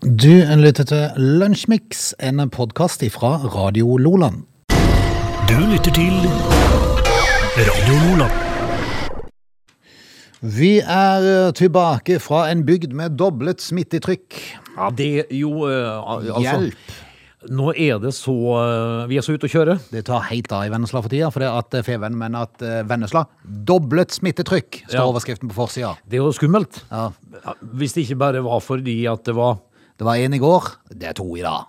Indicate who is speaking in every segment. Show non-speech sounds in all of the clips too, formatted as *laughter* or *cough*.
Speaker 1: Du lytter til Lunsjmix, en podkast fra Radio Loland.
Speaker 2: Du lytter til Radio Nordland.
Speaker 1: Vi er eh, tilbake fra en bygd med doblet smittetrykk.
Speaker 3: Ja, det jo eh, al- altså,
Speaker 1: Hjelp!
Speaker 3: Nå er det så eh, Vi er så ute å kjøre.
Speaker 1: Det tar helt av i Vennesla for tida, for det at eh, Feven mener at eh, Vennesla doblet smittetrykk, står
Speaker 3: Ja.
Speaker 1: overskriften på forsida.
Speaker 3: Det er jo skummelt.
Speaker 1: Ja,
Speaker 3: Ja, Hvis det ikke bare var fordi at det var
Speaker 1: det var én i går, det er to i dag.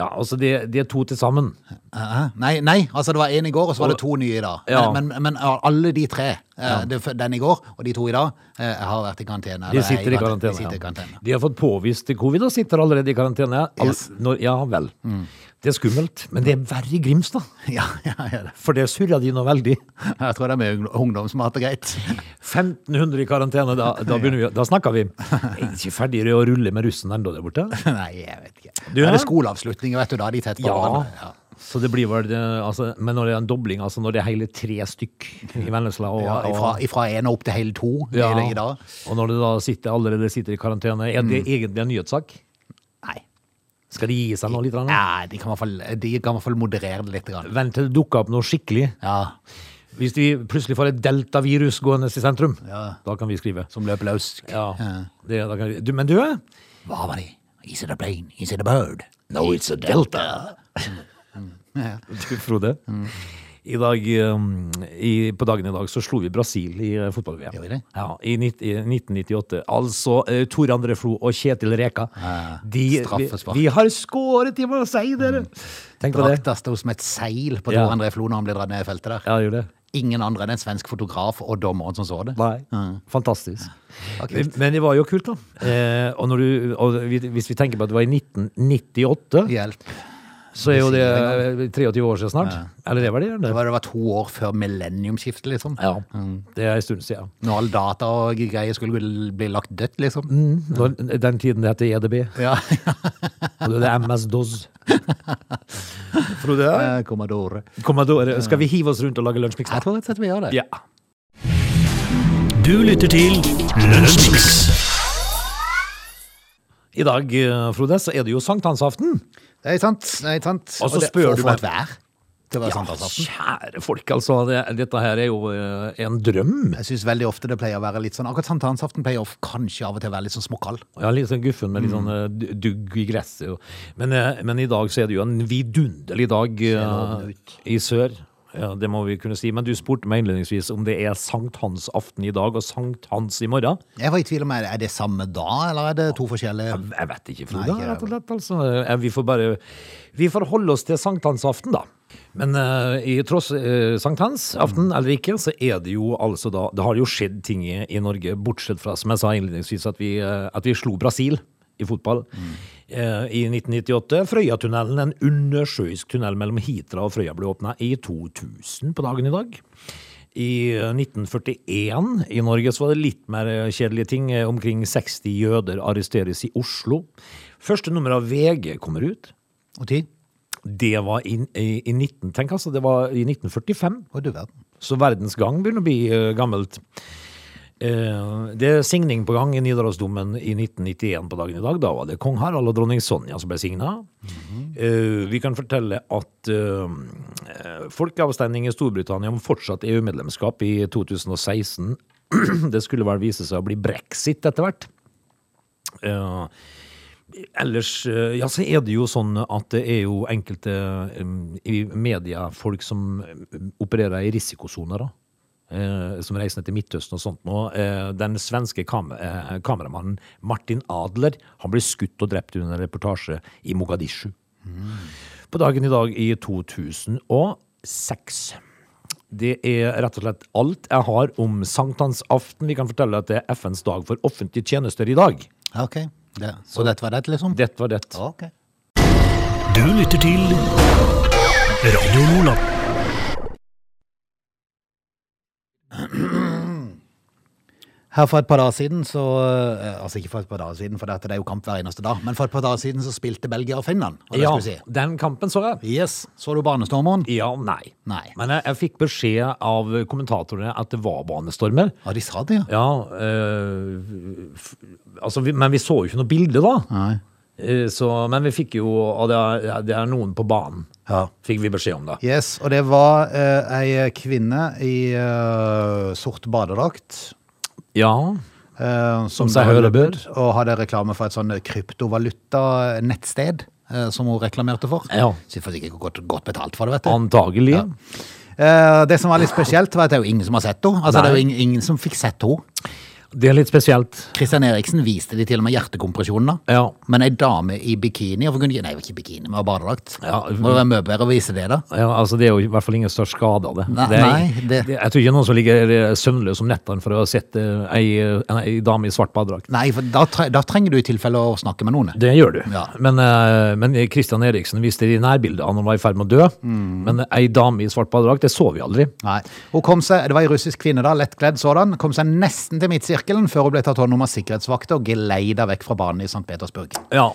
Speaker 3: Ja, altså, det, det er to til sammen.
Speaker 1: Hæ? Nei, nei, altså det var en i går, og så var det to nye i dag.
Speaker 3: Ja.
Speaker 1: Men, men, men alle de tre, eh, det- den i går og de to i dag, eh, har vært i karantene. eller
Speaker 3: De
Speaker 1: er
Speaker 3: sitter i
Speaker 1: De
Speaker 3: karantene.
Speaker 1: sitter i
Speaker 3: ja.
Speaker 1: karantene. *laughs*
Speaker 3: De har fått påvist covid og sitter allerede i karantene. Al
Speaker 1: Yes.
Speaker 3: når, ja vel.
Speaker 1: Mm.
Speaker 3: Det er skummelt. Men det er verre i Grimstad.
Speaker 1: Ja, ja, ja, det-
Speaker 3: For det surra de nå veldig.
Speaker 1: jeg tror det er mye ungdom- ungdom som har hatt det greit. *laughs*
Speaker 3: 1500 i karantene, da, da, begynner vi, da snakker vi. Er ikke ferdigere å rulle med russen ennå der borte?
Speaker 1: Nei, jeg vet ikke.
Speaker 3: Du,
Speaker 1: er
Speaker 3: ja?
Speaker 1: det skoleavslutninger, vet du, da er de tett på
Speaker 3: Ja.
Speaker 1: hverandre. Ja.
Speaker 3: Så det blir vel det, altså, Men når det er en dobling, altså når det er hele tre stykk i Vennesla og,
Speaker 1: Ja, ifra, ifra en og opp til hele Mm. to
Speaker 3: og, ja,
Speaker 1: i- i dag.
Speaker 3: og når det da sitter, allerede sitter i karantene, er det egentlig en nyhetssak?
Speaker 1: Nei.
Speaker 3: Skal de gi seg nå litt? Ja.
Speaker 1: Nei, de kan i hvert fall, de kan i hvert fall moderere det litt. Grann.
Speaker 3: Vent til det dukker opp noe skikkelig.
Speaker 1: Ja,
Speaker 3: Hvis vi plutselig får et deltavirus gående i sentrum,
Speaker 1: Ja.
Speaker 3: da kan vi skrive.
Speaker 1: som løper løs.
Speaker 3: Ja, det, da kan vi. Du, men du,
Speaker 1: Hva var det? Is it a plane? Is it a bird? No, it's a delta.
Speaker 3: du Frode. I dag, um, i, på dagen i dag så slo vi Brasil i eh, fotball-VM.
Speaker 1: Gjorde vi det?
Speaker 3: Ja, i, nitt- i 1998. Altså eh, Tor André Flo og Kjetil Reka.
Speaker 1: Ja,
Speaker 3: De, vi,
Speaker 1: straffespark. Mm.
Speaker 3: vi har skåret i Marseille, dere! Tenk på det.
Speaker 1: Drakta sto som et seil på
Speaker 3: Ja.
Speaker 1: Tor André Flo når han ble dratt ned i feltet der.
Speaker 3: Ja, gjør det.
Speaker 1: Ingen andre enn en svensk fotograf og dommeren som så det.
Speaker 3: Nei. Fantastisk.
Speaker 1: Ja, kult.
Speaker 3: Men det var jo kult, da. Eh, og når du, og vi- hvis vi tenker på at det var i 1998,
Speaker 1: Hjelp.
Speaker 3: så er jo
Speaker 1: det
Speaker 3: det
Speaker 1: sier
Speaker 3: eh, 23 år siden snart. Eller det var det?
Speaker 1: Det
Speaker 3: Eller?
Speaker 1: var, det var to år før millenniumsskiftet, liksom.
Speaker 3: Ja. Det er en stund siden.
Speaker 1: Når all data og greier skulle bli lagt dødt, liksom.
Speaker 3: Når, den tiden det heter E EDB,
Speaker 1: Ja.
Speaker 3: og det er MS-DOS. *laughs* Frode?
Speaker 1: *laughs* Eh, Commodore.
Speaker 3: Commodore, skal vi hive oss rundt og lage lunsjmix?
Speaker 1: Jeg tror rett og slett vi gjør det.
Speaker 3: Ja.
Speaker 2: Du lytter til Lunsjmix.
Speaker 3: I dag, eh, Frode, så er det jo sankthansaften.
Speaker 1: Det er sant. Det er sant.
Speaker 3: Og så
Speaker 1: det-
Speaker 3: spør
Speaker 1: for-
Speaker 3: du
Speaker 1: For
Speaker 3: meg-
Speaker 1: et vær. Det var altså. sankthansaften.
Speaker 3: kjære folk, altså. Det, dette her er jo eh, en drøm.
Speaker 1: Jeg syns veldig ofte det pleier å være litt sånn Akkurat sankthansaften pleier å f- kanskje av og til være litt sånn småkald.
Speaker 3: Ja, litt sånn guffen med litt sånn eh, d- dugg i gresset. og- Men, eh, men i dag så er det jo en vidunderlig dag eh,
Speaker 1: lovende ut.
Speaker 3: i sør. Ja, det må vi kunne si. Men du spurte meg innledningsvis om det er sankthansaften i dag og sankthans i morgen.
Speaker 1: Jeg var i tvil om er er det samme da, eller er det to forskjellige
Speaker 3: Jeg vet ikke,
Speaker 1: Nei,
Speaker 3: Frode.
Speaker 1: ikke
Speaker 3: rett og slett, altså. Eh, Vi får bare Vi får holde oss til sankthansaften, da. Men eh, i tross uh, sankthansaften eller ikke, så er det jo altså da Det har jo skjedd ting i, i Norge, bortsett fra, som jeg sa innledningsvis, at vi, eh, at vi slo Brasil i fotball. eh, I 1998. Frøyatunnelen, en undersjøisk tunnel mellom Hitra og Frøya, ble åpna i 2000 på dagen i dag. I 1941 i Norge så var det litt mer eh, kjedelige ting. Eh, Omkring 60 jøder arresteres i Oslo. Første nummer av VG kommer ut.
Speaker 1: Og ti?
Speaker 3: Det var i, i, i 19, tenk altså, det var i 1945.
Speaker 1: Å, du verden.
Speaker 3: Så verdens gang begynner å bli eh, gammelt. Eh, det er signing på gang i Nidarosdomen i 1991 på dagen i dag. Da var det kong Harald og dronning Sonja som ble signa. Eh, vi kan fortelle at eh, folkeavstemning i Storbritannia om fortsatt EU-medlemskap i 2016 *clears throat* Det skulle vel vise seg å bli brexit etter hvert. Eh, Ellers eh, ja, så er det jo sånn at det er jo enkelte um, i media folk som um, opererer i risikosoner, da. Eh, som reiser ned til Midtøsten og sånt nå. Eh, den svenske kam eh, kameramannen Martin Adler han ble skutt og drept under en reportasje i Mogadishu. På dagen i dag i 2006. Det er rett og slett alt jeg har om sankthansaften. Vi kan fortelle at det er FNs dag for offentlige tjenester i dag.
Speaker 1: Ja, OK. Det. Så dette var det, liksom?
Speaker 3: Dette var det.
Speaker 1: Ja, OK.
Speaker 2: Du lytter til Radio Nordland.
Speaker 1: Her for et par dager siden, så eh, Altså ikke for et par dager siden, for det at det er jo kamp hver eneste dag, men for et par dager siden så spilte Belgia og Finland, og det
Speaker 3: Ja,
Speaker 1: skulle jeg
Speaker 3: den kampen så jeg.
Speaker 1: si. Yes. Så du banestormeren?
Speaker 3: Ja, nei.
Speaker 1: Nei.
Speaker 3: Men jeg, jeg fikk beskjed av kommentatorene at det var banestormer.
Speaker 1: Ja, de sa det, ja.
Speaker 3: Ja, eh, f, altså, vi, men vi så jo ikke noe bilde da.
Speaker 1: Nei.
Speaker 3: Eh, Så, men vi fikk jo Og det er, det er noen på banen,
Speaker 1: Ja.
Speaker 3: fikk vi beskjed om, da.
Speaker 1: Yes, og det var eh, ei kvinne i eh, sort badedrakt.
Speaker 3: Ja.
Speaker 1: eh,
Speaker 3: Som seg hører bør.
Speaker 1: Og hadde reklame for et sånn kryptovaluta-nettsted eh, som hun reklamerte for.
Speaker 3: Ja.
Speaker 1: Så hun får sikkert godt, godt betalt for det, vet du.
Speaker 3: Antagelig.
Speaker 1: Ja. Eh, det som var litt spesielt, var at det er jo ingen som har sett henne. Altså, det er jo ingen, ingen som fikk sett henne.
Speaker 3: Det er litt spesielt.
Speaker 1: Kristian Eriksen viste de til og med hjertekompresjoner.
Speaker 3: Ja.
Speaker 1: Men ei dame i bikini hvorfor kunne de, Nei, det var ikke bikini, men badedrakt.
Speaker 3: Ja.
Speaker 1: Må det være mye bedre å vise det, da?
Speaker 3: Ja, altså Det er jo i hvert fall ingen større skade av det.
Speaker 1: Nei,
Speaker 3: det er,
Speaker 1: nei, det-
Speaker 3: Jeg tror ikke noen som ligger eh, søvnløs om nettene for å ha sett eh, ei, eh, ei dame i svart badedrakt.
Speaker 1: Nei, for da, tre da trenger du i tilfelle å snakke med noen.
Speaker 3: Det gjør du.
Speaker 1: Ja.
Speaker 3: Men, eh, men Christian Eriksen viste det i nærbildet. Han var i ferd med å dø.
Speaker 1: Mm.
Speaker 3: Men ei dame i svart badedrakt, det så vi aldri.
Speaker 1: Nei. Hun kom seg, det var ei russisk kvinne, da, lettkledd sådan. Kom seg nesten til midtsirkelen før hun ble tatt hånd om av sikkerhetsvakter og geleida vekk fra banen i St. Petersburg.
Speaker 3: Ja.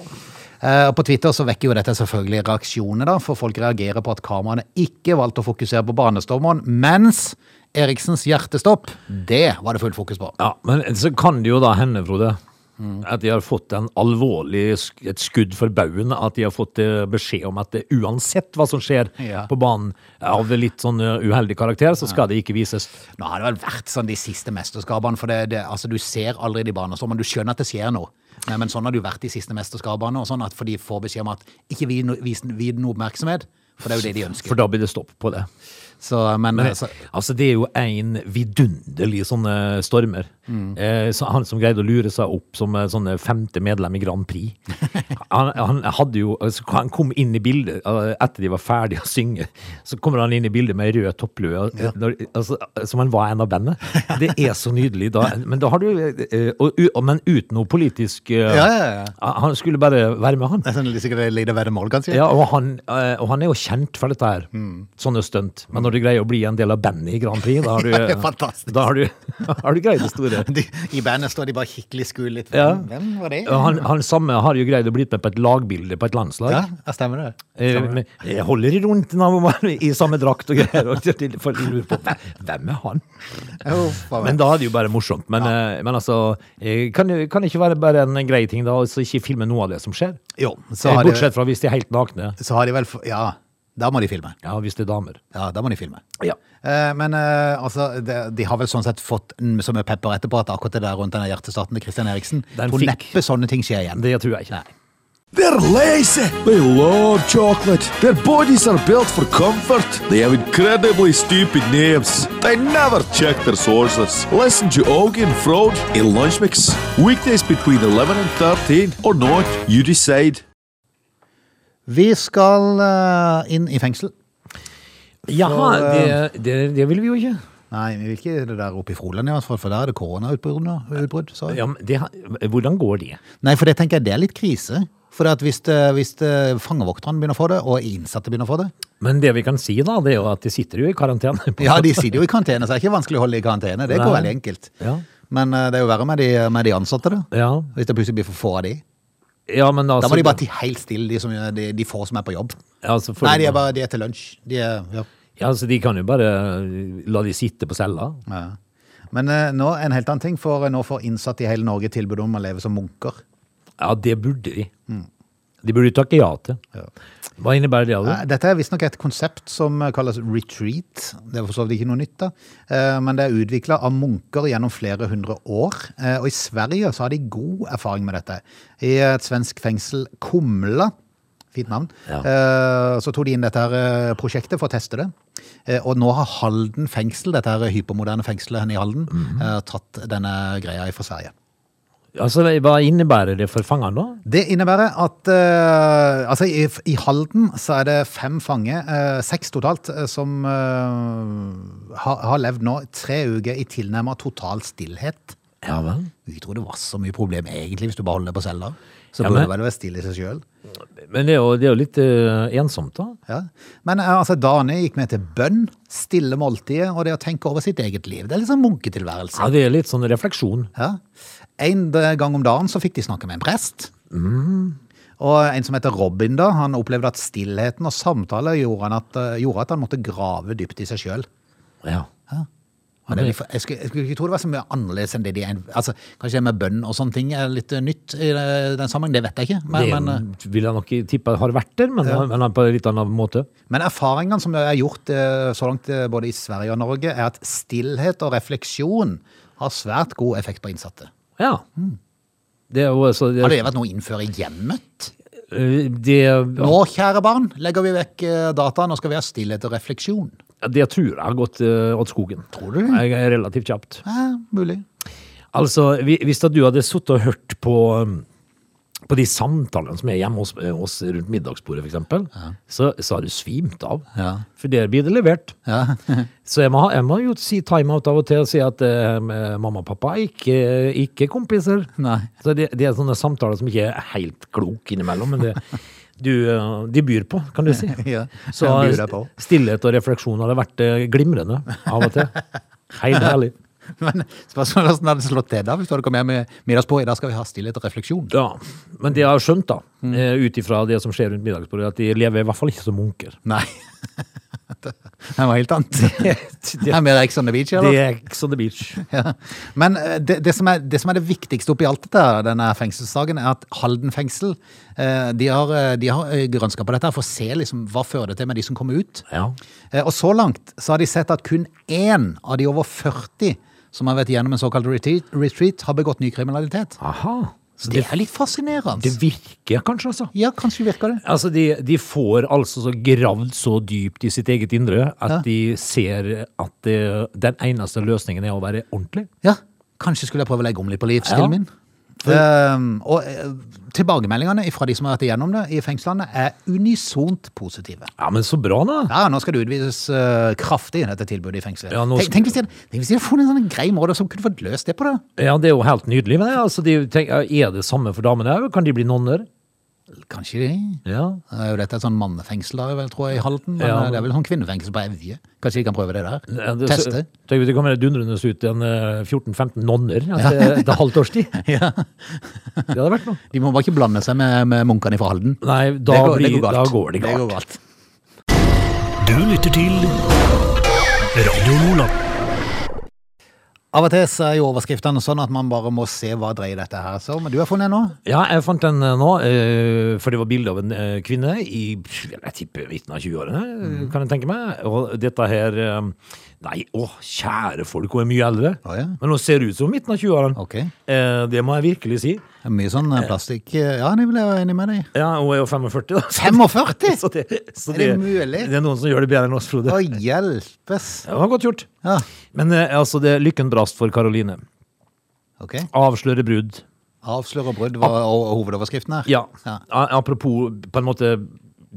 Speaker 1: Eh, og på Twitter så vekker jo dette selvfølgelig reaksjoner, da, for folk reagerer på at kameraene ikke valgte å fokusere på banestormeren, mens Eriksens hjertestopp, det var det fullt fokus på.
Speaker 3: ja. Men så kan det jo da hende, Frode,
Speaker 1: Mm.
Speaker 3: at de har fått en alvorlig, sk- et skudd for baugen. At de har fått eh, beskjed om at det, uansett hva som skjer
Speaker 1: Ja.
Speaker 3: på banen av litt sånn eh, uheldig karakter, så skal det ikke vises.
Speaker 1: Nå har det vel vært sånn de siste mesterskapene, for det, det, altså, du ser aldri de banestormene, du skjønner at det skjer noe. Nei, men sånn har det jo vært de siste mesterskapene, og sånn at for de får beskjed om at ikke vi no, vis vi den oppmerksomhet, for det er jo det de ønsker.
Speaker 3: For da blir det stopp på det.
Speaker 1: Så, men, altså,
Speaker 3: Altså, det er jo en vidunderlig sånne stormer.
Speaker 1: Mm.
Speaker 3: Eh, så han som greide å lure seg opp som eh, sånne femte medlem i Grand
Speaker 1: *laughs*
Speaker 3: Prix. Han, han hadde jo altså, Han kom inn i bildet eh, etter de var ferdige å synge. Så kommer han inn i bildet med rød topplue, og- når, altså, som han var en av bandet. Det er så nydelig. Da, men da har du eh, og, u- Men uten noe politisk eh,
Speaker 1: Ja, ja, ja.
Speaker 3: Han skulle bare være med, han.
Speaker 1: Det er sånn sikkert et lite veddemål, kanskje?
Speaker 3: Ja, og han, eh, og han er jo kjent for dette her.
Speaker 1: Mm.
Speaker 3: Sånne stunt. Men når du greier å bli en del av bandet i Grand Prix, da har du,
Speaker 1: *laughs* Ja, det er fantastisk.
Speaker 3: da har du, *laughs* har du greid det store.
Speaker 1: *laughs* De, I bandet står de bare kikkelig skule litt.
Speaker 3: Ja.
Speaker 1: Hvem- Hvem var det?
Speaker 3: Og Han, han samme har jo greid å bli med på et lagbilde på et landslag.
Speaker 1: Ja, ja, stemmer det.
Speaker 3: Eh, men jeg holder i rundt når man er i samme drakt og greier. Og til- folk lurer på "Hve- hvem er han?
Speaker 1: Jo, faen meg.
Speaker 3: Men da er det jo bare morsomt. Men, eh, men altså, eh, kan, det- kan det ikke være bare en grei ting, da? Altså ikke filme noe av det som skjer?
Speaker 1: jo, så
Speaker 3: Eh,
Speaker 1: har, de,
Speaker 3: Bortsett fra hvis de er helt nakne.
Speaker 1: så har de vel f- Ja, da må de filme.
Speaker 3: Ja, hvis det er damer.
Speaker 1: Ja, da må de filme.
Speaker 3: Ja.
Speaker 1: Eh, Men eh, altså, de, de har vel sånn sett fått mm, så mye pepper etterpå at akkurat det der rundt denne hjertestarten til Christian Eriksen
Speaker 3: Den
Speaker 1: Tror
Speaker 3: fikk-
Speaker 1: neppe sånne ting skjer igjen.
Speaker 3: Det tror jeg ikke.
Speaker 4: They're lazy. They love chocolate. Their bodies are built for comfort. They have incredibly stupid names. They never check their sources. Listen to Augie and Frode in Lunch Mix. Weekdays between 11 and 13 or not, you decide.
Speaker 1: Vi skal eh, inn i fengsel.
Speaker 3: Jaha, det, det, det vil vi jo ikke.
Speaker 1: Nei, vi vil ikke det der oppe i Froland i hvert fall, for der er det koronautbrudd nå. utbrudd, sa jeg.
Speaker 3: Ja, men det, hvordan går det?
Speaker 1: Nei, for det tenker jeg det er litt krise. For at hvis, det, hvis det, fangevokterne begynner å få det, og innsatte begynner å få det
Speaker 3: Men det vi kan si da, det er jo at de sitter jo i karantene. på-
Speaker 1: Ja, de sitter jo i karantene, så det er ikke vanskelig å holde i karantene. Det går
Speaker 3: Nei.
Speaker 1: veldig enkelt.
Speaker 3: Ja.
Speaker 1: Men eh, det er jo verre med de, med de ansatte, da.
Speaker 3: Ja,
Speaker 1: Hvis det plutselig blir for få av de.
Speaker 3: ja men altså...
Speaker 1: Da må de bare ti helt stille, de, som, de, de få som er på jobb.
Speaker 3: Ja, altså, for-
Speaker 1: Nei, de er bare de er til lunsj. De er, ja.
Speaker 3: Ja, altså, de kan jo bare eh, la de sitte på cella.
Speaker 1: Ja. Men eh, nå en helt annen ting, for eh, nå får innsatte i hele Norge tilbud om å leve som munker.
Speaker 3: Ja, det burde de.
Speaker 1: Mm.
Speaker 3: De burde takke ja til. Hva innebærer det, altså?
Speaker 1: Nei, Dette er visstnok et konsept som kalles retreat. Det er for så vidt ikke noe nytt, da. Eh, Men det er utvikla av munker gjennom flere hundre år. Eh, Og i Sverige så har de god erfaring med dette. I et svensk fengsel, Kumla, fint navn,
Speaker 3: Ja.
Speaker 1: eh, så tok de inn dette her eh, prosjektet for å teste det. Eh, Og nå har Halden fengsel, dette her hypermoderne fengselet henne i Halden, eh, tatt denne greia fra Sverige.
Speaker 3: Altså, hva innebærer det for fangene da?
Speaker 1: Det innebærer at eh, altså i, i Halden så er det fem fange, eh, seks totalt, eh, som eh, har, har levd nå tre uker i tilnærmet total stillhet.
Speaker 3: Ja, vel.
Speaker 1: Jeg tror det var så mye problem egentlig hvis du bare holder deg på cella. Så
Speaker 3: Ja,
Speaker 1: burde
Speaker 3: men-
Speaker 1: det vel være stille i seg sjøl.
Speaker 3: Men det er jo, det er jo litt eh, ensomt da.
Speaker 1: Ja. Men eh, altså, Dane gikk med til bønn, stille måltidet og det å tenke over sitt eget liv. Det er liksom munketilværelse.
Speaker 3: Ja, det er litt sånn refleksjon.
Speaker 1: Ja. En gang om dagen så fikk de snakke med en prest. Mm. Og en som heter Robin da, han opplevde at stillheten eh, og samtale gjorde, han at, gjorde at han måtte grave dypt i seg sjøl.
Speaker 3: Ja.
Speaker 1: Og det, er litt for- jeg, skulle, jeg skulle ikke tro det var så mye annerledes enn det de er. Altså, kanskje det med bønn og sånne ting er litt eh, nytt i eh, den sammenheng, det vet jeg ikke. Men, men, eh,
Speaker 3: det vil jeg nok tippe har vært der, men, men på en litt annen måte.
Speaker 1: eh, Men erfaringene som er gjort eh, så langt eh, både i Sverige og Norge, er at stillhet og refleksjon har svært god effekt på innsatte.
Speaker 3: Ja. Det er jo altså
Speaker 1: Mm. Har
Speaker 3: det,
Speaker 1: det vært noe å innføre i hjemmet?
Speaker 3: eh, det,
Speaker 1: Nå, kjære barn, legger vi vekk eh, dataen, nå skal vi ha stillhet og refleksjon.
Speaker 3: det tror jeg har gått eh, åt skogen.
Speaker 1: Tror du det?
Speaker 3: Jeg er relativt kjapt.
Speaker 1: Ja, mulig. *laughs*
Speaker 3: Altså, hvi- hvis at du hadde sittet og hørt på um, på de samtalene som er hjemme hos eh, oss rundt middagsbordet, f.eks., så, så har du svimt av.
Speaker 1: Ja.
Speaker 3: For der blir det levert.
Speaker 1: Ja. *laughs*
Speaker 3: Så jeg må, ha- jeg må jo si timeout av og til og si at eh, mamma og pappa er ikke, ikke kompiser.
Speaker 1: Nei.
Speaker 3: Så det, det er sånne samtaler som ikke er helt klok innimellom, men det, du, eh, de byr på, kan du si.
Speaker 1: *laughs* Ja,
Speaker 3: Så
Speaker 1: de byr deg på.
Speaker 3: stillhet og refleksjon hadde vært eh, glimrende av og
Speaker 1: *laughs*
Speaker 3: til. Helt ærlig.
Speaker 1: Men spørsmålet er hvordan hadde det slått til da, hvis du hadde kommet hjem med middagsbord, i dag skal vi ha stillhet og refleksjon.
Speaker 3: Ja, men det jeg har skjønt da, eh, ut ifra det som skjer rundt middagsbordet, at de lever i hvert fall ikke som munker.
Speaker 1: Nei. *laughs* Det var helt annet. *laughs* Det
Speaker 3: *laughs* det,
Speaker 1: er mer Ex on the Beach,
Speaker 3: det
Speaker 1: eller?
Speaker 3: er Ex on the Beach.
Speaker 1: Ja. Men eh, det, det, som er, det som er det viktigste oppi alt dette, her, denne fengselssaken, er at Halden fengsel eh, de har, eh, de har eh, grønska på dette her for å se liksom, hva fører det til med de som kommer ut.
Speaker 3: Ja.
Speaker 1: Eh, Og så langt så har de sett at kun én av de over 40 som har vært gjennom en såkalt retreat, retreat har begått ny kriminalitet.
Speaker 3: Aha. Så
Speaker 1: Det
Speaker 3: det,
Speaker 1: er litt fascinerende.
Speaker 3: det virker kanskje, altså.
Speaker 1: Ja, kanskje virker det.
Speaker 3: Altså, de, de får altså så gravd så dypt i sitt eget indre at de ser at det, den eneste løsningen er å være ordentlig.
Speaker 1: Ja, Kanskje skulle jeg prøve å legge om litt på livsstilen
Speaker 3: Ja.
Speaker 1: min. Ehm, og eh, tilbakemeldingene fra de som har vært igjennom det i fengslene, er unisont positive.
Speaker 3: Ja, men så bra, da!
Speaker 1: Ja, Nå skal det utvides eh, kraftig, dette tilbudet i fengselet.
Speaker 3: Ja, nå
Speaker 1: tenk,
Speaker 3: skal-
Speaker 1: tenk, hvis de, hadde- tenk hvis de hadde funnet en sånn grei måte som kunne fått løst det på, da.
Speaker 3: Ja, Det er jo helt nydelig. Men ja, altså, de tenker, er det samme for damene òg? Kan de bli nonner?
Speaker 1: Kanskje de
Speaker 3: Ja.
Speaker 1: Det er jo dette et sånn mannefengsel der, vel, tror jeg, i Halden. Men
Speaker 3: Ja.
Speaker 1: eh, det er vel sånn kvinnefengsel på Evje. Kanskje de kan prøve det der?
Speaker 3: Ja, det-
Speaker 1: Teste.
Speaker 3: så- Tenk hvis det kommer dundrende ut en eh, 14-15 nonner altså, etter halvtårstid.
Speaker 1: *laughs* Ja.
Speaker 3: Det hadde vært noe.
Speaker 1: De må bare ikke blande seg med, med munkene fra Halden.
Speaker 3: Nei, da,
Speaker 1: det, går, det
Speaker 3: blir,
Speaker 1: går galt.
Speaker 3: da går det
Speaker 1: Det
Speaker 3: galt.
Speaker 1: går galt.
Speaker 2: Du lytter til Radio Nordland.
Speaker 1: Av og til så er jo overskriftene sånn at man bare må se hva dreier dette her seg om. Men Du har funnet en nå?
Speaker 3: Ja, jeg fant den eh, nå, eh, for det var bilde av en eh, kvinne i pff, jeg tipper midten av 20-årene, eh,
Speaker 1: Mm.
Speaker 3: kan jeg tenke meg. Og dette her eh, Nei, å, kjære folk, hun er mye eldre.
Speaker 1: Å, ja.
Speaker 3: Men hun ser ut som midten av 20-årene.
Speaker 1: Ok.
Speaker 3: Eh, Det må jeg virkelig si.
Speaker 1: Det er Mye sånn eh, plastikk eh, Ja, det blir jeg enig med deg i.
Speaker 3: Ja, hun er jo 45, da. så-
Speaker 1: 45?
Speaker 3: *laughs* Så det, så
Speaker 1: Er det mulig?
Speaker 3: Det er noen som gjør det bedre enn oss, Frode.
Speaker 1: *laughs* Å hjelpes.
Speaker 3: Det var godt gjort.
Speaker 1: Ja,
Speaker 3: Men eh, altså, det er lykken brast for Karoline.
Speaker 1: ok.
Speaker 3: Avsløre brudd.
Speaker 1: Avslør og brudd var o- hovedoverskriften her.
Speaker 3: Ja.
Speaker 1: Ah. Ja.
Speaker 3: A- Apropos på en måte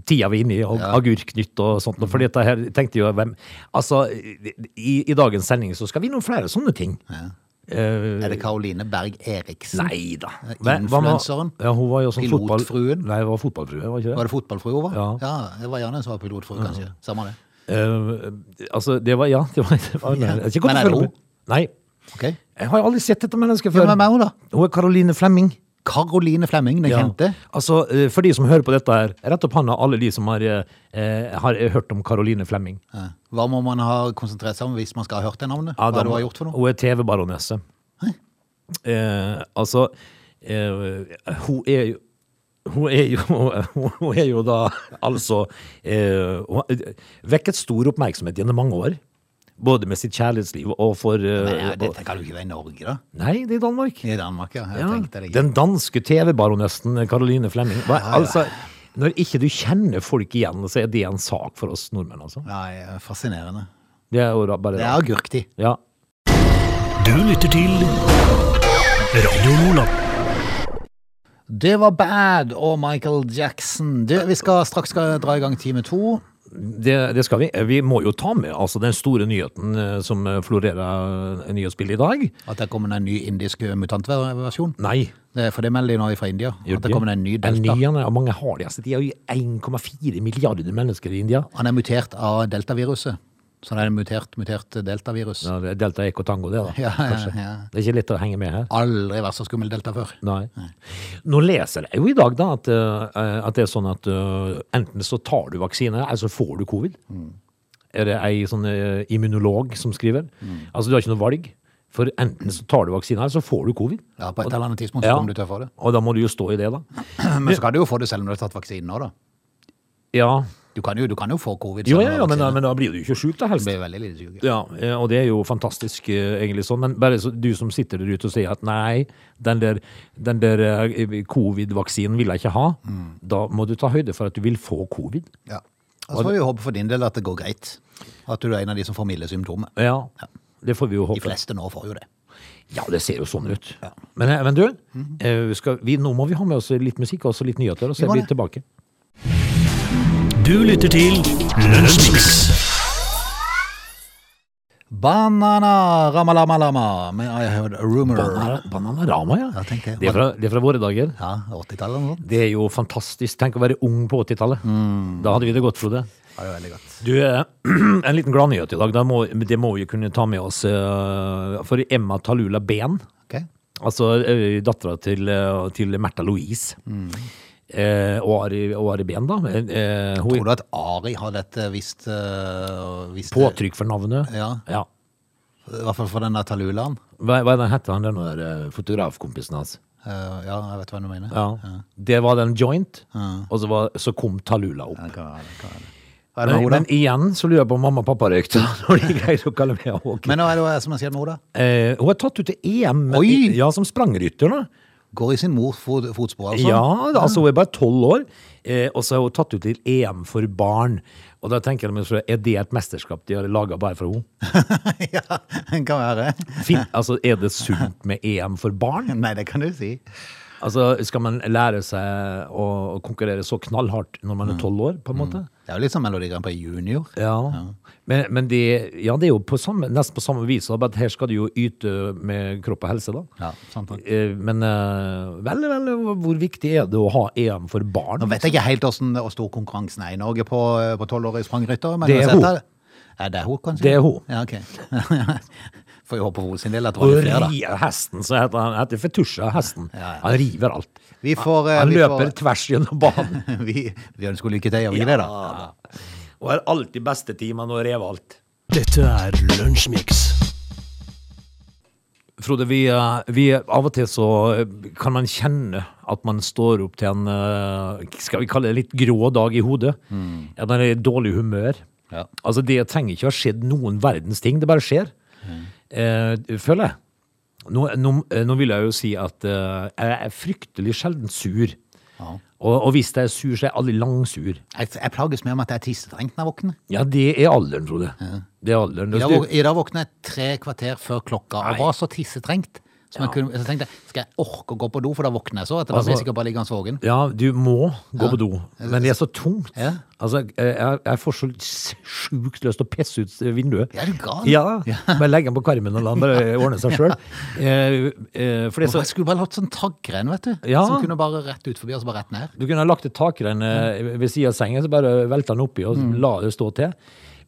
Speaker 3: tida vi er inne i, og agurknytt og sånt. For dette her tenkte jo hvem Altså, i, i dagens sending så skal vi innom flere sånne ting. Eh,
Speaker 1: Er det Karoline Berg Eriksen?
Speaker 3: nei da.
Speaker 1: Er influenseren?
Speaker 3: Ja, hun var jo sånn fotball...
Speaker 1: Pilotfruen?
Speaker 3: Nei, hun var fotballfrue, var ikke det?
Speaker 1: Var det fotballfrue hun var?
Speaker 3: Ja.
Speaker 1: det var gjerne en som var pilot for, kanskje. Samme det.
Speaker 3: Eh, altså, det var Ja, det var, det var
Speaker 1: Ja.
Speaker 3: det er ikke godt
Speaker 1: Men
Speaker 3: å
Speaker 1: er det
Speaker 3: følge
Speaker 1: hun?
Speaker 3: med. Nei.
Speaker 1: Ok.
Speaker 3: Jeg har jo aldri sett dette mennesket
Speaker 1: Ja,
Speaker 3: før.
Speaker 1: men hvem er hun da?
Speaker 3: Hun er Caroline Flemming.
Speaker 1: Karoline Flemming, den
Speaker 3: Ja.
Speaker 1: kjente.
Speaker 3: Altså, eh, For de som hører på dette, her, rett opp hånda alle de som har, eh, eh, har hørt om Caroline Flemming.
Speaker 1: Ja. Eh, Hva må man ha konsentrert seg om hvis man skal ha hørt det navnet? Hva
Speaker 3: Ja,
Speaker 1: er
Speaker 3: da
Speaker 1: det
Speaker 3: må-
Speaker 1: hun har gjort for noe?
Speaker 3: Hun er TV-baronesse. Eh, altså, eh, hun er jo hun er, jo, *laughs* hun er jo da altså eh, Hun har vekket stor oppmerksomhet gjennom mange år. Både med sitt kjærlighetsliv og for eh,
Speaker 1: Nei, ja, dette kan jo ikke være i Norge, da.
Speaker 3: Nei, det er Danmark.
Speaker 1: I Danmark, ja. Jeg
Speaker 3: Ja,
Speaker 1: tenkte det ikke.
Speaker 3: den danske TV-baronessen Caroline Flemming. Hva, Altså, når ikke du kjenner folk igjen, så er det en sak for oss nordmenn, altså.
Speaker 1: Nei, eh, fascinerende.
Speaker 3: Det er jo da bare
Speaker 1: Det er agurktid.
Speaker 3: Ja.
Speaker 2: Du lytter til Radio Nordland.
Speaker 1: Det var Bad og Michael Jackson. Du, vi skal straks skal dra i gang time to.
Speaker 3: Det, det skal vi. Vi må jo ta med altså, den store nyheten eh, som florerer eh, nyhetsbildet i dag.
Speaker 1: At det kommer en ny indisk eh, mutantversjon.
Speaker 3: Nei.
Speaker 1: Det er for det melder de nå fra India.
Speaker 3: gjør
Speaker 1: At det kommer en ny
Speaker 3: En
Speaker 1: delta.
Speaker 3: ny, ja, og mange har det. Altså, de er jo 1,4 milliarder mennesker i India.
Speaker 1: Han er mutert av deltaviruset. Så det er en mutert, mutert deltavirus.
Speaker 3: Ja, det er Delta Eco Tango, det, da.
Speaker 1: Ja, ja,
Speaker 3: kanskje.
Speaker 1: ja.
Speaker 3: Det er ikke lett å henge med her.
Speaker 1: Aldri vært så skummel delta før.
Speaker 3: Nei. Nå leser jeg jo i dag da at,
Speaker 1: Mm.
Speaker 3: eh, at det er sånn at eh, enten så tar du vaksine, eller så får du covid. er det ei sånn eh, immunolog som skriver.
Speaker 1: Mm.
Speaker 3: Altså, du har ikke noe valg. For enten så tar du vaksinen her, så får du covid.
Speaker 1: Ja, på et eller annet tidspunkt så
Speaker 3: Ja.
Speaker 1: kommer du til å få det.
Speaker 3: Og da må du jo stå i det, da.
Speaker 1: Men så kan du jo få det selv om du har tatt vaksinen nå, da.
Speaker 3: Ja,
Speaker 1: Du kan jo, du kan jo få covid.
Speaker 3: jo,
Speaker 1: selv om
Speaker 3: ja,
Speaker 1: du
Speaker 3: ja
Speaker 1: har
Speaker 3: men, da-
Speaker 1: vaksinen.
Speaker 3: men da blir du jo ikke sjuk, da,
Speaker 1: Du
Speaker 3: helst.
Speaker 1: blir veldig lite syk.
Speaker 3: Ja, eh, og det er jo fantastisk eh, egentlig sånn, men bare så, du som sitter der ute og sier at nei, den der, den der eh, covid-vaksinen vil jeg ikke ha, da må du ta høyde for at du vil få covid.
Speaker 1: Ja. Og så får vi jo håpe for din del at det går greit. At du er en av de som får milde symptomer.
Speaker 3: Ja, det får vi jo
Speaker 1: De
Speaker 3: håpe.
Speaker 1: fleste nå får jo det.
Speaker 3: Ja, det ser jo sånn ut. Men, eh, men du, eh, skal vi, nå må vi ha med oss litt musikk og også litt nyheter, og så
Speaker 1: Vi må
Speaker 3: er vi
Speaker 1: det.
Speaker 3: tilbake.
Speaker 2: Du lytter til Lunsjmix.
Speaker 1: Banana ramalamalama med I Heard a Rumor.
Speaker 3: Banana- Bananarama, ja.
Speaker 1: Ja, tenker jeg.
Speaker 3: det, er fra, det er fra våre dager.
Speaker 1: Ja, 80-tallet eller noe sånt.
Speaker 3: Det er jo fantastisk. Tenk å være ung på 80-tallet. Da hadde vi det godt, Frode.
Speaker 1: Mm. Ja, det er veldig godt.
Speaker 3: Du, eh, *clears throat* en liten gladnyhet i dag. Da må, det må vi kunne ta med oss. eh, For Emma Talula Ben,
Speaker 1: Ok.
Speaker 3: altså dattera til, eh, til Märtha Louise,
Speaker 1: Mm.
Speaker 3: eh, og, Ari, og Ari Ben, da. eh, eh, Hun
Speaker 1: Tror du at Ari hadde et eh, visst, øh, visst
Speaker 3: påtrykk for navnet.
Speaker 1: Ja. I hvert fall for denne Talulaen.
Speaker 3: Hva, hva er den heter han, den der eh, fotografkompisen hans?
Speaker 1: Eh, ja, jeg vet hva du mener.
Speaker 3: Ja. Det var den joint,
Speaker 1: Ja.
Speaker 3: og så, var, så kom Talula opp.
Speaker 1: Ja, det kan være det, kan være det. Hva er det
Speaker 3: Men,
Speaker 1: med
Speaker 3: men
Speaker 1: Oda?
Speaker 3: igjen så lurer jeg på om mamma og pappa røykte, *laughs* når de greide å kalle meg Håk.
Speaker 1: Men hva er det hva er det som har skjedd med Oda?
Speaker 3: Eh, hun er tatt ut til EM
Speaker 1: Oi!
Speaker 3: ja, som sprangrytter. da.
Speaker 1: Går i sin mors fot, fotspor, altså?
Speaker 3: Ja, altså hun er bare tolv år, eh, og så er hun tatt ut til EM for barn. Og da tenker jeg meg så er det et mesterskap de har laga bare for henne?
Speaker 1: *laughs* ja, det kan være.
Speaker 3: Fin- *laughs* Altså, er det sunt med EM for barn?
Speaker 1: Nei, det kan du si.
Speaker 3: Altså, Skal man lære seg å å konkurrere så knallhardt når
Speaker 1: Mm.
Speaker 3: man er tolv år, på en måte?
Speaker 1: Det er jo litt som Melodi Grand Prix Junior.
Speaker 3: Ja, men, men det, ja, det er jo på samme, nesten på samme vis, da, bare at her skal du jo yte med kropp og helse, da.
Speaker 1: Ja, sant nok.
Speaker 3: Eh, Men eh, vel, vel, hvor viktig er det å ha EM for barn?
Speaker 1: Nå vet jeg ikke helt hvordan hvor stor konkurransen er i Norge på, på 12-årige sprangrytter. men
Speaker 3: Det er
Speaker 1: uansett
Speaker 3: hun.
Speaker 1: Ja, det er hun, kanskje?
Speaker 3: Det er hun.
Speaker 1: Ja, ok. *laughs* Får jo håpe for henne sin del at det var
Speaker 3: Og
Speaker 1: litt flere, da.
Speaker 3: ri- hesten, så heter han heter Fetusha, hesten.
Speaker 1: Ja, ja.
Speaker 3: Han river alt.
Speaker 1: Vi får, eh,
Speaker 3: Han
Speaker 1: vi
Speaker 3: løper
Speaker 1: får-
Speaker 3: tvers gjennom banen.
Speaker 1: *laughs* Vi, vi ønsker lykke til, gjør vi det, da?
Speaker 3: Og har alltid beste timene og rever alt.
Speaker 2: Dette er Lunsjmix.
Speaker 3: Frode, vi, eh, vi av og til så eh, kan man kjenne at man står opp til en eh, Skal vi kalle det litt grå dag i hodet? At man er i dårlig humør.
Speaker 1: Ja.
Speaker 3: Altså, det trenger ikke ha skjedd noen verdens ting. Det bare skjer. Eh, føler jeg. Nå, nå, eh, nå vil jeg jo si at eh, jeg er fryktelig sjelden sur.
Speaker 1: Ja.
Speaker 3: Og, og hvis jeg er sur, så er jeg aldri langsur.
Speaker 1: Jeg, jeg plages med om at jeg er tissetrengt når jeg våkner.
Speaker 3: Ja, det er alderen, Frode. Det er alderen.
Speaker 1: I dag,
Speaker 3: Du-
Speaker 1: våk- I dag våkner jeg tre kvarter før klokka og var så tissetrengt. Så, jeg kunne, så tenkte jeg, skal jeg orke å gå på do, for da våkner jeg så. at Da blir jeg
Speaker 3: Altså-
Speaker 1: sikkert bare liggende våken.
Speaker 3: Ja, du må gå på do, men det er så tungt.
Speaker 1: Ja.
Speaker 3: Altså, jeg, jeg får så s- sjukt lyst til å pisse ut vinduet.
Speaker 1: Er du gal?
Speaker 3: Ja, bare legge den på karmen og la den *laughs* bare ordne seg sjøl. Eh, eh, for det er
Speaker 1: Hvorfor
Speaker 3: så
Speaker 1: jeg skulle bare hatt sånn taggrenn, vet du.
Speaker 3: Ja.
Speaker 1: Som kunne bare rett ut forbi og så bare rett ned.
Speaker 3: Du kunne ha lagt et takrenn eh, ved siden av sengen, så bare velta den oppi og la det stå til.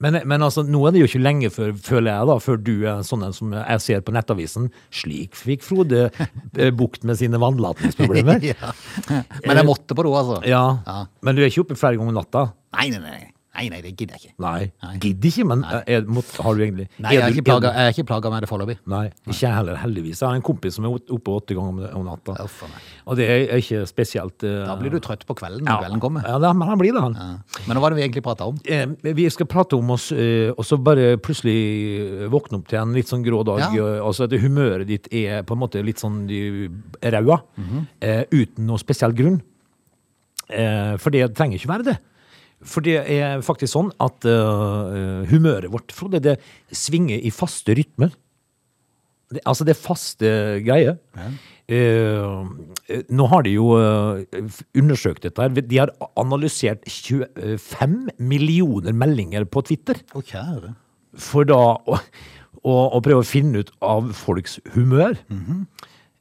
Speaker 3: Men, men altså, nå er det jo ikke lenge før, føler jeg, da, før du er sånn en som jeg ser på Nettavisen. Slik fikk Frode eh, bukt med sine vannlatingsproblemer. *laughs*
Speaker 1: *laughs* Ja. Men jeg måtte på do, altså.
Speaker 3: Ja.
Speaker 1: Ja.
Speaker 3: Men du er ikke oppe flere ganger om natta?
Speaker 1: Nei, nei, nei, nei, nei, det gidder jeg ikke.
Speaker 3: Nei.
Speaker 1: Nei.
Speaker 3: Gidder ikke, men eh, er, må, har du egentlig
Speaker 1: Nei, jeg
Speaker 3: er
Speaker 1: er
Speaker 3: du-
Speaker 1: ikke plaga,
Speaker 3: er
Speaker 1: jeg er ikke plaga med det foreløpig.
Speaker 3: du- Nei, ikke jeg heller, heldigvis. Jeg har en kompis som er ot- oppe åtte ganger om- om natta.
Speaker 1: Uff a meg.
Speaker 3: Og det er er ikke spesielt eh,
Speaker 1: Da blir du trøtt på kvelden
Speaker 3: ja.
Speaker 1: når kvelden kommer.
Speaker 3: Ja, da- men han blir det, han.
Speaker 1: Ja. Men hva var det vi egentlig prata om?
Speaker 3: Eh, Vi skal prate om oss, eh, og så bare plutselig eh, våkne opp til en litt sånn grå dag.
Speaker 1: Ja.
Speaker 3: eh, Og så at humøret ditt er på en måte litt sånn eh, raua, eh, uten noe spesiell grunn. Eh, for det trenger ikke være det. For det er faktisk sånn at eh, humøret vårt, Frode, det svinger i faste rytmer. Det, altså, det er faste greier. Eh, nå har de jo eh, f- undersøkt dette. her. De har analysert 25 millioner meldinger på Twitter
Speaker 1: Å, kjære.
Speaker 3: for da å, å, å prøve å finne ut av folks humør.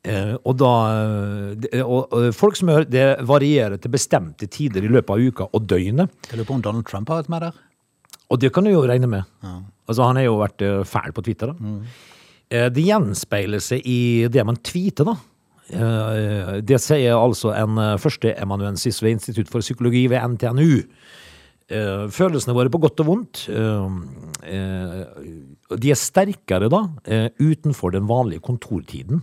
Speaker 3: Eh, og da eh, det- og, og Folks humør det varierer til bestemte tider i løpet av uka og døgnet.
Speaker 1: Jeg lurer på om Donald Trump har vært med der?
Speaker 3: Og det kan du jo regne med. Altså, han har jo vært eh, fæl på Twitter. da. Eh, Det gjenspeiler seg i det man tweeter, da. Eh, Det sier altså en eh, førsteemanuensis ved Institutt for psykologi ved NTNU. eh, følelsene våre på godt og vondt. eh, eh, de er sterkere da, eh, utenfor den vanlige kontortiden.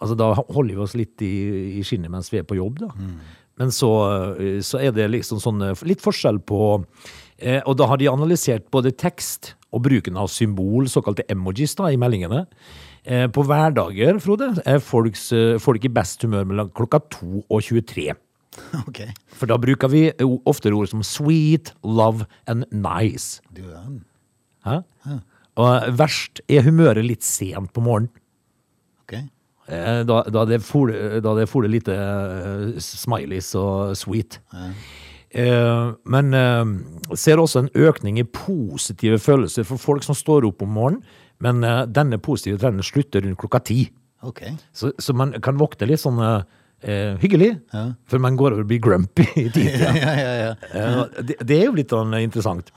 Speaker 3: Altså, da holder vi oss litt i, i skinnet mens vi er på jobb, da. Men så, eh, så er det liksom sånn eh, litt forskjell på eh, Og da har de analysert både tekst og bruken av symbol, såkalte emojis, da, i meldingene. Eh, på hverdager, Frode, er folks, eh, folk i best humør mellom klokka 2 og 23.
Speaker 1: *laughs* Ok.
Speaker 3: For da bruker vi o- oftere ord som sweet, love and nice.
Speaker 1: Du verden.
Speaker 3: Hæ? Og verst er humøret litt sent på morgenen.
Speaker 1: Ok.
Speaker 3: Eh, Da, da det fole, da det fole lite eh, smileys og sweet. Eh, Men eh, ser også en økning i positive følelser for folk som står opp om morgenen, men eh, denne positive trenden slutter rundt klokka ti.
Speaker 1: Ok.
Speaker 3: Så, så man kan vokte litt sånn eh, eh, hyggelig, før man går over og blir grumpy i tid.
Speaker 1: Ja, ja, ja. ja.
Speaker 3: Eh, Det, det er jo litt sånn interessant.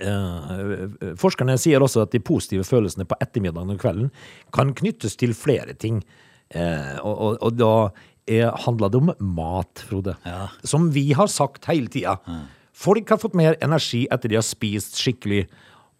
Speaker 3: Eh, forskerne sier også at de positive følelsene på ettermiddagen og kvelden kan knyttes til flere ting. Eh, og, og, og da er, handler det om mat, Frode.
Speaker 1: Ja.
Speaker 3: Som vi har sagt hele tida. Folk har fått mer energi etter de har spist skikkelig.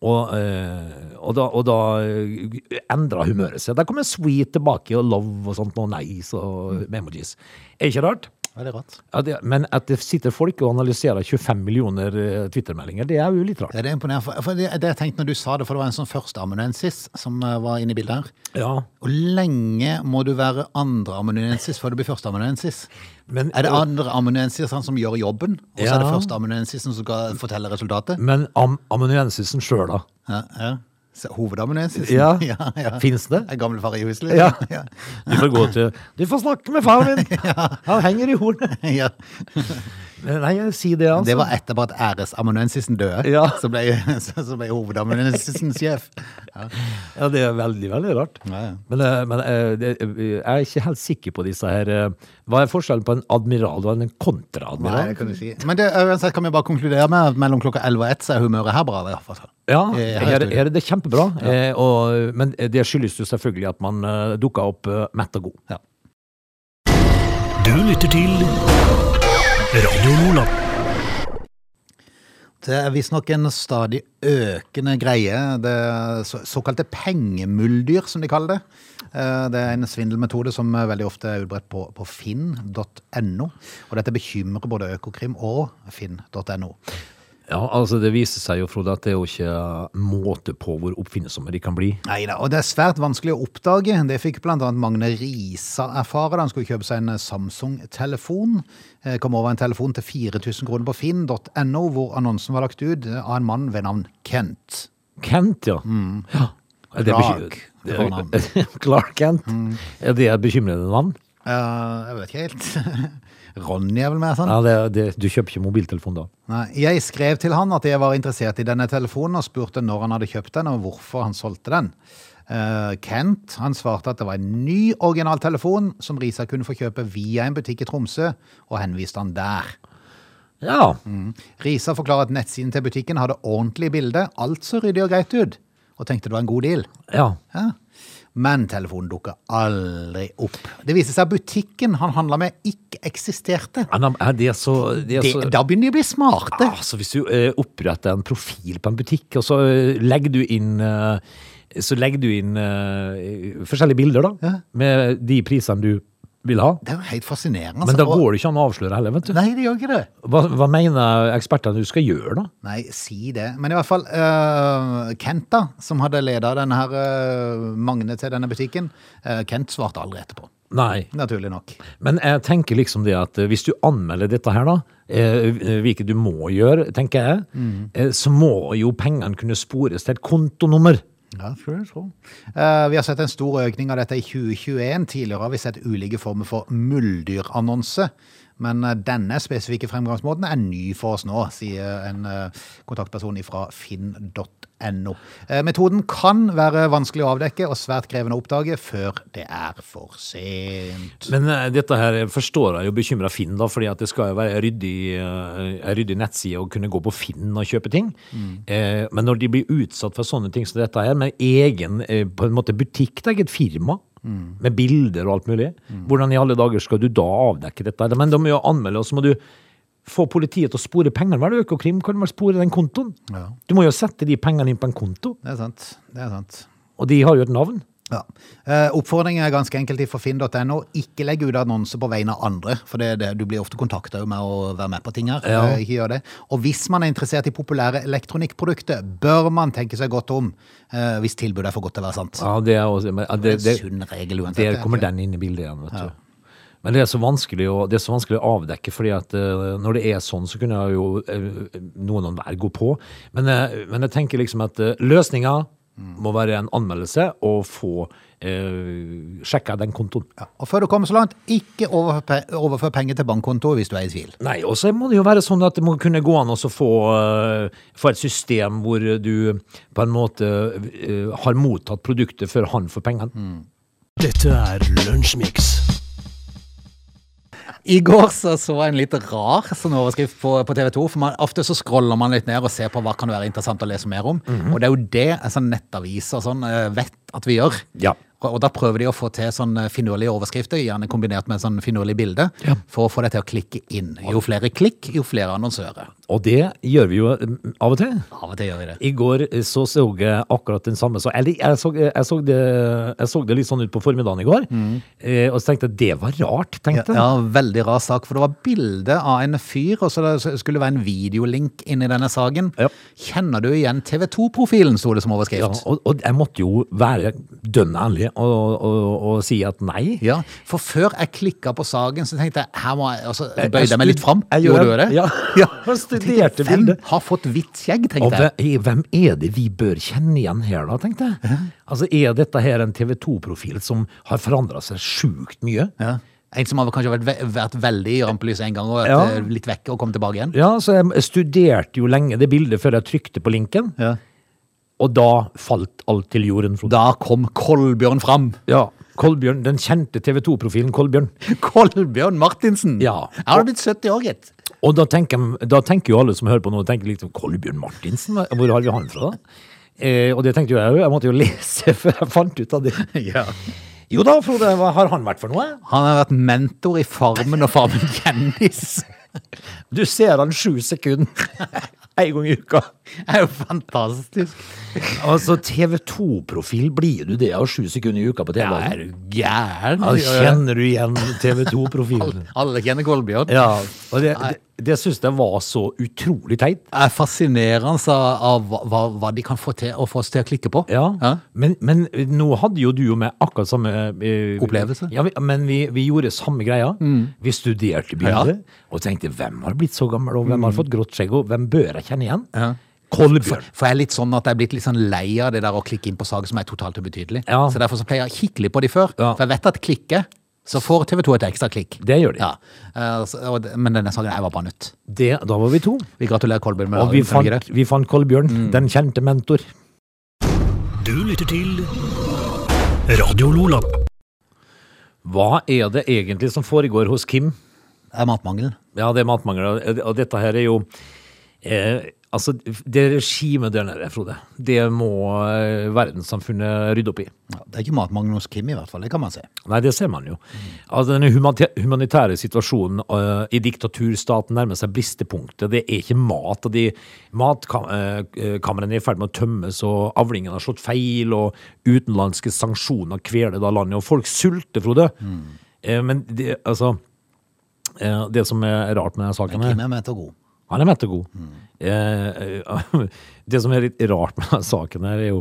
Speaker 3: Og, eh, og da, og da eh, endrer humøret seg. Der kommer sweet tilbake, og love og sånt, og nice og emojis. Er ikke rart?
Speaker 1: Er det rart?
Speaker 3: Ja, det, men at det sitter folk og analyserer 25 millioner eh, Twitter-meldinger, det er jo litt rart.
Speaker 1: Ja, det er imponerende. For, for det, det jeg tenkte når du sa det, for det var en sånn førsteamanuensis som eh, var inne i bildet her.
Speaker 3: Ja,
Speaker 1: Hvor lenge må du være andreamanuensis før du blir førsteamanuensis?
Speaker 3: men,
Speaker 1: Er det andreamanuensisene som gjør jobben, og så er det
Speaker 3: Ja.
Speaker 1: førsteamanuensisen som skal fortelle resultatet?
Speaker 3: men am amanuensisen sjøl, da?
Speaker 1: Ja, ja. Så Hovedamanuensisen?
Speaker 3: *laughs* Ja.
Speaker 1: *laughs* ja, ja.
Speaker 3: Fins det?
Speaker 1: Er Gamlefar i Husli?
Speaker 3: Ja.
Speaker 1: *laughs* ja.
Speaker 3: Du får gå til Du får snakke med far *laughs* min! Han henger i hornet!
Speaker 1: ja.
Speaker 3: Men Nei, jeg sier det, altså.
Speaker 1: Det var etterpå at æresamanuensisen døde,
Speaker 3: Ja.
Speaker 1: så ble, *laughs* så så ble hovedamanuensisen sjef. Ja.
Speaker 3: Ja, det er veldig, veldig rart.
Speaker 1: Ja, ja.
Speaker 3: Men, eh, men eh, det, eh, jeg er ikke helt sikker på disse her eh, Hva er forskjellen på en admiral og en
Speaker 1: Nei,
Speaker 3: kontraadmiral?
Speaker 1: det kan du si. Men det, uansett kan vi bare konkludere med at mellom klokka 11 og 1 så er humøret her bra. i hvert fall.
Speaker 3: Ja,
Speaker 1: Eh, her i
Speaker 3: her,
Speaker 1: studio.
Speaker 3: her er det kjempebra. Eh, og, men det skyldes jo selvfølgelig at man eh, dukka opp eh, mett og god.
Speaker 2: Du lytter til Radio Lola.
Speaker 1: Det er visstnok en stadig økende greie. Det er så, såkalte pengemuldyr, som de kaller det. Eh, Det er en svindelmetode som er veldig ofte er utbredt på, på finn.no. Og dette bekymrer både Økokrim og finn.no.
Speaker 3: Ja, altså Det viser seg jo, Frode, at det er jo ikke måte på hvor oppfinnsomme de kan bli.
Speaker 1: Nei da, og det er svært vanskelig å oppdage. Det fikk blant annet Magne Risa erfare da han skulle kjøpe seg en Samsung-telefon. Eh, Kom over en telefon til 4000 kroner på finn.no, hvor annonsen var lagt ut av en mann ved navn Kent.
Speaker 3: Kent, ja. ja. Er det
Speaker 1: Mm. Clark,
Speaker 3: bekym-
Speaker 1: det Mm. var navnet.
Speaker 3: Det er- *laughs* Clark Kent. Er det et bekymrende navn?
Speaker 1: Eh, jeg vet ikke helt. *laughs* Ronny er vel med, sånn?
Speaker 3: Ja, det, er- det, Du kjøper ikke mobiltelefon da?
Speaker 1: Nei, jeg skrev til han at jeg var interessert i denne telefonen, og spurte når han hadde kjøpt den, og hvorfor han solgte den. Eh, Kent han svarte at det var en ny originaltelefon som Risa kunne få kjøpe via en butikk i Tromsø, og henviste han der.
Speaker 3: Ja.
Speaker 1: Risa forklarer at nettsiden til butikken hadde ordentlig bilde, alt så ryddig og greit ut, og tenkte det var en god deal.
Speaker 3: ja.
Speaker 1: Ja. Men telefonen dukket aldri opp. Det viser seg at butikken han handlet med ikke eksisterte.
Speaker 3: Ja, men Er det så, det er
Speaker 1: Det,
Speaker 3: så
Speaker 1: da begynner de å bli smarte.
Speaker 3: Altså, hvis du eh, oppretter en profil på en butikk, og så eh, legger du inn eh, så legger du inn eh, forskjellige bilder, da,
Speaker 1: Ja.
Speaker 3: med de prisene du vil ha.
Speaker 1: Det er jo helt fascinerende.
Speaker 3: Men da
Speaker 1: altså. Og-
Speaker 3: går det ikke an å avsløre heller, vet du.
Speaker 1: Nei, det gjør ikke det.
Speaker 3: Hva, hva mener ekspertene du skal gjøre, da?
Speaker 1: Nei, si det. Men i hvert fall, øh, Kent da, som hadde ledet denne her øh, Magne til denne butikken, øh, Kent svarte aldri etterpå.
Speaker 3: Nei,
Speaker 1: Naturlig nok.
Speaker 3: men jeg tenker liksom det at eh, hvis du anmelder dette her, da, eh, hvilket du må gjøre, tenker jeg, eh, så må jo pengene kunne spores til et kontonummer.
Speaker 1: Ja, tror jeg, tror. Eh, vi har sett en stor økning av dette i 2021. Tidligere har vi sett ulike former for mulldyrannonse. Men eh, denne spesifikke fremgangsmåten er ny for oss nå, sier en eh, kontaktperson fra finn.no. Eh, metoden kan være vanskelig å avdekke og svært krevende å oppdage før det er for sent.
Speaker 3: Men eh, dette her forstår jeg jo bekymrer Finn, da, fordi at det skal jo være en ryddig, eh, en ryddig nettside å kunne gå på Finn og kjøpe ting. Eh, men når de blir utsatt for sånne ting som dette her, med egen eh, på en måte butikk, det er eget firma, med Mm. bilder og alt mulig, hvordan i alle dager skal du da avdekke dette? her? Men da må jo anmelde, og så må du få politiet til å spore pengene. Hva er det Økokrim kan vel spore den kontoen?
Speaker 1: Ja.
Speaker 3: Du må jo sette de pengene inn på en konto,
Speaker 1: Det er sant. Det er sant.
Speaker 3: og de har jo et navn.
Speaker 1: Ja. Eh, oppfordringen er ganske enkelt fra finn.no. Ikke legg ut annonser på vegne av andre, for det er det, du blir ofte kontakta med å være med på ting her.
Speaker 3: Ja.
Speaker 1: Eh, ikke gjør det. Og hvis man er interessert i populære elektronikkprodukter, bør man tenke seg godt om eh, hvis tilbudet er for godt til å være sant.
Speaker 3: Ja, det er også, men, ja, det,
Speaker 1: det,
Speaker 3: det,
Speaker 1: er en sunn regel uansett.
Speaker 3: der
Speaker 1: er
Speaker 3: kommer
Speaker 1: ikke
Speaker 3: den inn i bildet igjen, vet du. Men det er, så vanskelig å, det er så vanskelig å avdekke, fordi at eh, når det er sånn, så kunne jeg jo eh, noen og enhver gå på. Men, eh, men jeg tenker liksom at eh, løsninga må være en anmeldelse og få eh, sjekka den kontoen.
Speaker 1: Ja. Og før du kommer så langt, ikke overfør, pe- overfør penger til bankkonto hvis du er i tvil.
Speaker 3: Nei, og så må det jo være sånn at det må kunne gå an å så få, eh, få et system hvor du på en måte eh, har mottatt produktet før han får pengene.
Speaker 2: Dette er Lunsjmix.
Speaker 1: I går så, så jeg en litt rar sånn overskrift på, på TV 2. For man, ofte så scroller man litt ned og ser på hva kan det være interessant å lese mer om. Og det er jo det sånn nettaviser og sånn eh, vet at vi gjør.
Speaker 3: Ja.
Speaker 1: Og, og da prøver de å få til sånn eh, finurlige overskrifter, gjerne kombinert med sånn finurlig bilde, for å få det til å klikke inn. Jo flere klikk, jo flere annonsører.
Speaker 3: Og det gjør vi jo eh, av og til.
Speaker 1: Av og til gjør vi det.
Speaker 3: I går eh, så så jeg akkurat den samme. Så jeg, jeg, så, eh, jeg, så det, jeg så det litt sånn ut på formiddagen i går, eh, og så tenkte jeg det var
Speaker 1: Mm.
Speaker 3: rart.
Speaker 1: Ja,
Speaker 3: tenkte jeg.
Speaker 1: ja, veldig rar sak, for det var bilde av en fyr, og så det- så skulle det være en videolink inn i denne saken.
Speaker 3: Ja.
Speaker 1: Kjenner du igjen TV 2-profilen, sto det som overskrift.
Speaker 3: Ja, og, og jeg måtte jo være dønn ærlig og, og, og si at nei.
Speaker 1: Ja, for før jeg klikka på saken, så tenkte jeg her må jeg, altså, jeg bøyde jeg meg litt fram.
Speaker 3: Jeg
Speaker 1: Gjorde du
Speaker 3: gjorde
Speaker 1: det? *laughs*
Speaker 3: Ja. *laughs* Jeg studerte
Speaker 1: Hvem
Speaker 3: bildet.
Speaker 1: har fått hvitt skjegg,
Speaker 3: Og
Speaker 1: tenkte jeg.
Speaker 3: hve- hvem er det vi bør kjenne igjen her, da, tenkte jeg. Altså, Er dette her en TV 2-profil som har forandra seg sjukt mye?
Speaker 1: Ja. En som har kanskje vært, ve- vært veldig i rampelyset en gang og vært
Speaker 3: Ja.
Speaker 1: eh, litt vekk og kommet tilbake igjen.
Speaker 3: Ja, så jeg studerte jo lenge det bildet før jeg trykte på linken, og da falt alt til jorden. Frode.
Speaker 1: Da kom Kolbjørn fram. *laughs*
Speaker 3: Ja, Kolbjørn, Den kjente TV 2-profilen Kolbjørn.
Speaker 1: Kolbjørn Martinsen!
Speaker 3: Ja.
Speaker 1: Jeg hadde blitt 70 år, gitt.
Speaker 3: Og da tenker, da tenker jo alle som hører på nå, tenker liksom Kolbjørn Martinsen, hva- hvor har vi han fra? da? Eh, og det tenkte jo jeg òg, jeg måtte jo *laughs* lese før jeg fant ut av det. Jo da, Frode, hva har han vært for noe?
Speaker 1: Han har vært mentor i Farmen og Farmen kjendis. *laughs*
Speaker 3: Du ser han sju sekunder *laughs* en gang i uka.
Speaker 1: Det er jo fantastisk.
Speaker 3: Altså, TV 2-profil blir du det av sju sekunder i uka på TV?
Speaker 1: Ja, er du gæren?
Speaker 3: Ja, kjenner du *laughs* igjen TV 2-profilen?
Speaker 1: Alle kjenner Kolbjørn.
Speaker 3: Ja, og det, det, det syns jeg var så utrolig teit.
Speaker 1: er fascinerende av, av hva- hva, hva de kan få, til, å få oss til å klikke på.
Speaker 3: Ja, Men, men nå hadde jo du og meg akkurat samme eh,
Speaker 1: Opplevelse. Mm.
Speaker 3: Ja, vi, men vi, vi gjorde samme greia. Vi studerte bildet og tenkte hvem har blitt så gammel, og
Speaker 1: Mm.
Speaker 3: hvem har fått grått skjegg, og hvem bør jeg kjenne igjen? Kolbjørn.
Speaker 1: For jeg er litt sånn at jeg er blitt litt sånn lei av det der å klikke inn på saker som er totalt ubetydelig.
Speaker 3: Ja.
Speaker 1: Så derfor så pleier jeg å kikke litt på de før.
Speaker 3: Ja.
Speaker 1: For jeg vet at klikker, så får TV 2 et ekstra klikk.
Speaker 3: Det gjør de.
Speaker 1: Ja. Eh, så- og det- Men denne saken her var bare nytt.
Speaker 3: Det, da var vi to.
Speaker 1: Vi gratulerer Kolbjørn med
Speaker 3: Og vi
Speaker 1: dagen, kan vi ikke
Speaker 3: fant, vi fant Kolbjørn,
Speaker 1: Mm.
Speaker 3: den kjente mentor.
Speaker 2: Du lytter til Radio Lola.
Speaker 3: Hva er det egentlig som foregår hos Kim?
Speaker 1: det? Det er matmangel.
Speaker 3: Ja, det er matmangel, og- og dette her er jo eh, Altså, det regimet der nede, Frode, det må eh, verdenssamfunnet rydde opp i.
Speaker 1: Ja, det er ikke matmangel hos Kim i hvert fall, det kan man si.
Speaker 3: Nei, det ser man jo. Altså, denne humanita- humanitære situasjonen eh, i diktaturstaten nærmer seg bristepunktet. Det er ikke mat. og de Matkamrene er i ferd med å tømmes, og avlingen har slått feil, og utenlandske sanksjoner kveler da landet, og folk sulter, Frode. Eh, Men det, altså eh, Det som er rart med denne saken her
Speaker 1: Kim er med til å gå.
Speaker 3: han er mett og god. Eh, eh, *laughs* det som er litt rart med denne saken her, er jo,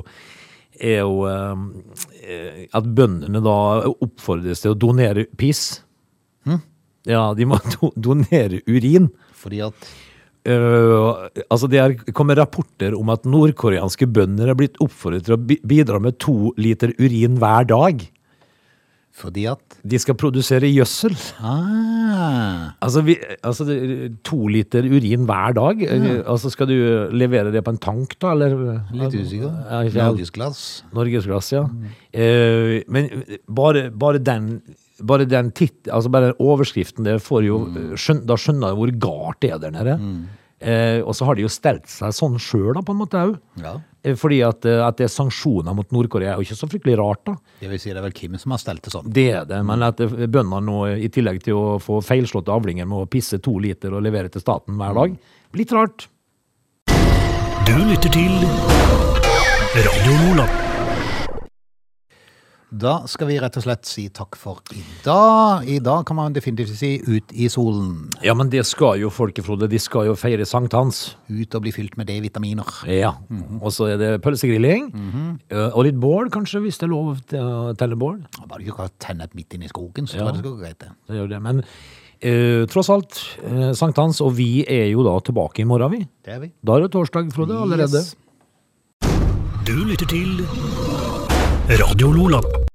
Speaker 3: er jo eh, at bøndene da oppfordres til å donere piss. Ja, de må *laughs* do donere urin.
Speaker 1: Fordi at
Speaker 3: Eh, altså Det er kommet rapporter om at nordkoreanske bønder er blitt oppfordret til å bi bidra med to liter urin hver dag.
Speaker 1: Fordi at
Speaker 3: De skal produsere gjødsel.
Speaker 1: ah,
Speaker 3: Altså, vi, altså det- to liter urin hver dag? Eh, Altså, skal du levere det på en tank, da? Eller?
Speaker 1: Litt
Speaker 3: Ja,
Speaker 1: usikker.
Speaker 3: ikke sant?
Speaker 1: Norgesglass. Mm.
Speaker 3: Norgesglass, ja. Eh, men bare, bare den bare
Speaker 1: Mm.
Speaker 3: eh, den titt, altså bare den overskriften der får jo skjøn, Da skjønner jeg hvor galt det er der nede. Eh, og så har de jo stelt seg sånn sjøl, da, på en måte òg.
Speaker 1: Ja.
Speaker 3: Fordi at, eh, at det er sanksjoner mot Nord-Korea, er jo ikke så fryktelig rart, da.
Speaker 1: Det vil si det er vel Kim som har stelt det sånn.
Speaker 3: Det er det, men at bøndene nå, i tillegg til å få feilslåtte avlinger med å pisse to liter og levere til staten hver dag, litt rart.
Speaker 2: Du lytter til Radio Lola.
Speaker 1: Da skal vi rett og slett si takk for i dag. I dag kan man definitivt si ut i solen.
Speaker 3: Ja, men det skal jo folket, Frode. De skal jo feire sankthans.
Speaker 1: Ut og bli fylt med D-vitaminer.
Speaker 3: Ja. Og så er det pølsegrilling. eh, Og litt bål, kanskje, hvis det er lov til å telle bål.
Speaker 1: Bare du ikke kan tenne et midt inne i skogen, så
Speaker 3: Ja.
Speaker 1: tror jeg det skal gå greit. det.
Speaker 3: Det er jo det. Men eh, tross alt, eh, sankthans. Og vi er jo da tilbake i morgen, vi.
Speaker 1: Det er vi.
Speaker 3: Da er det torsdag, Frode, allerede.
Speaker 1: Yes.
Speaker 2: Du lytter til Radio Lola.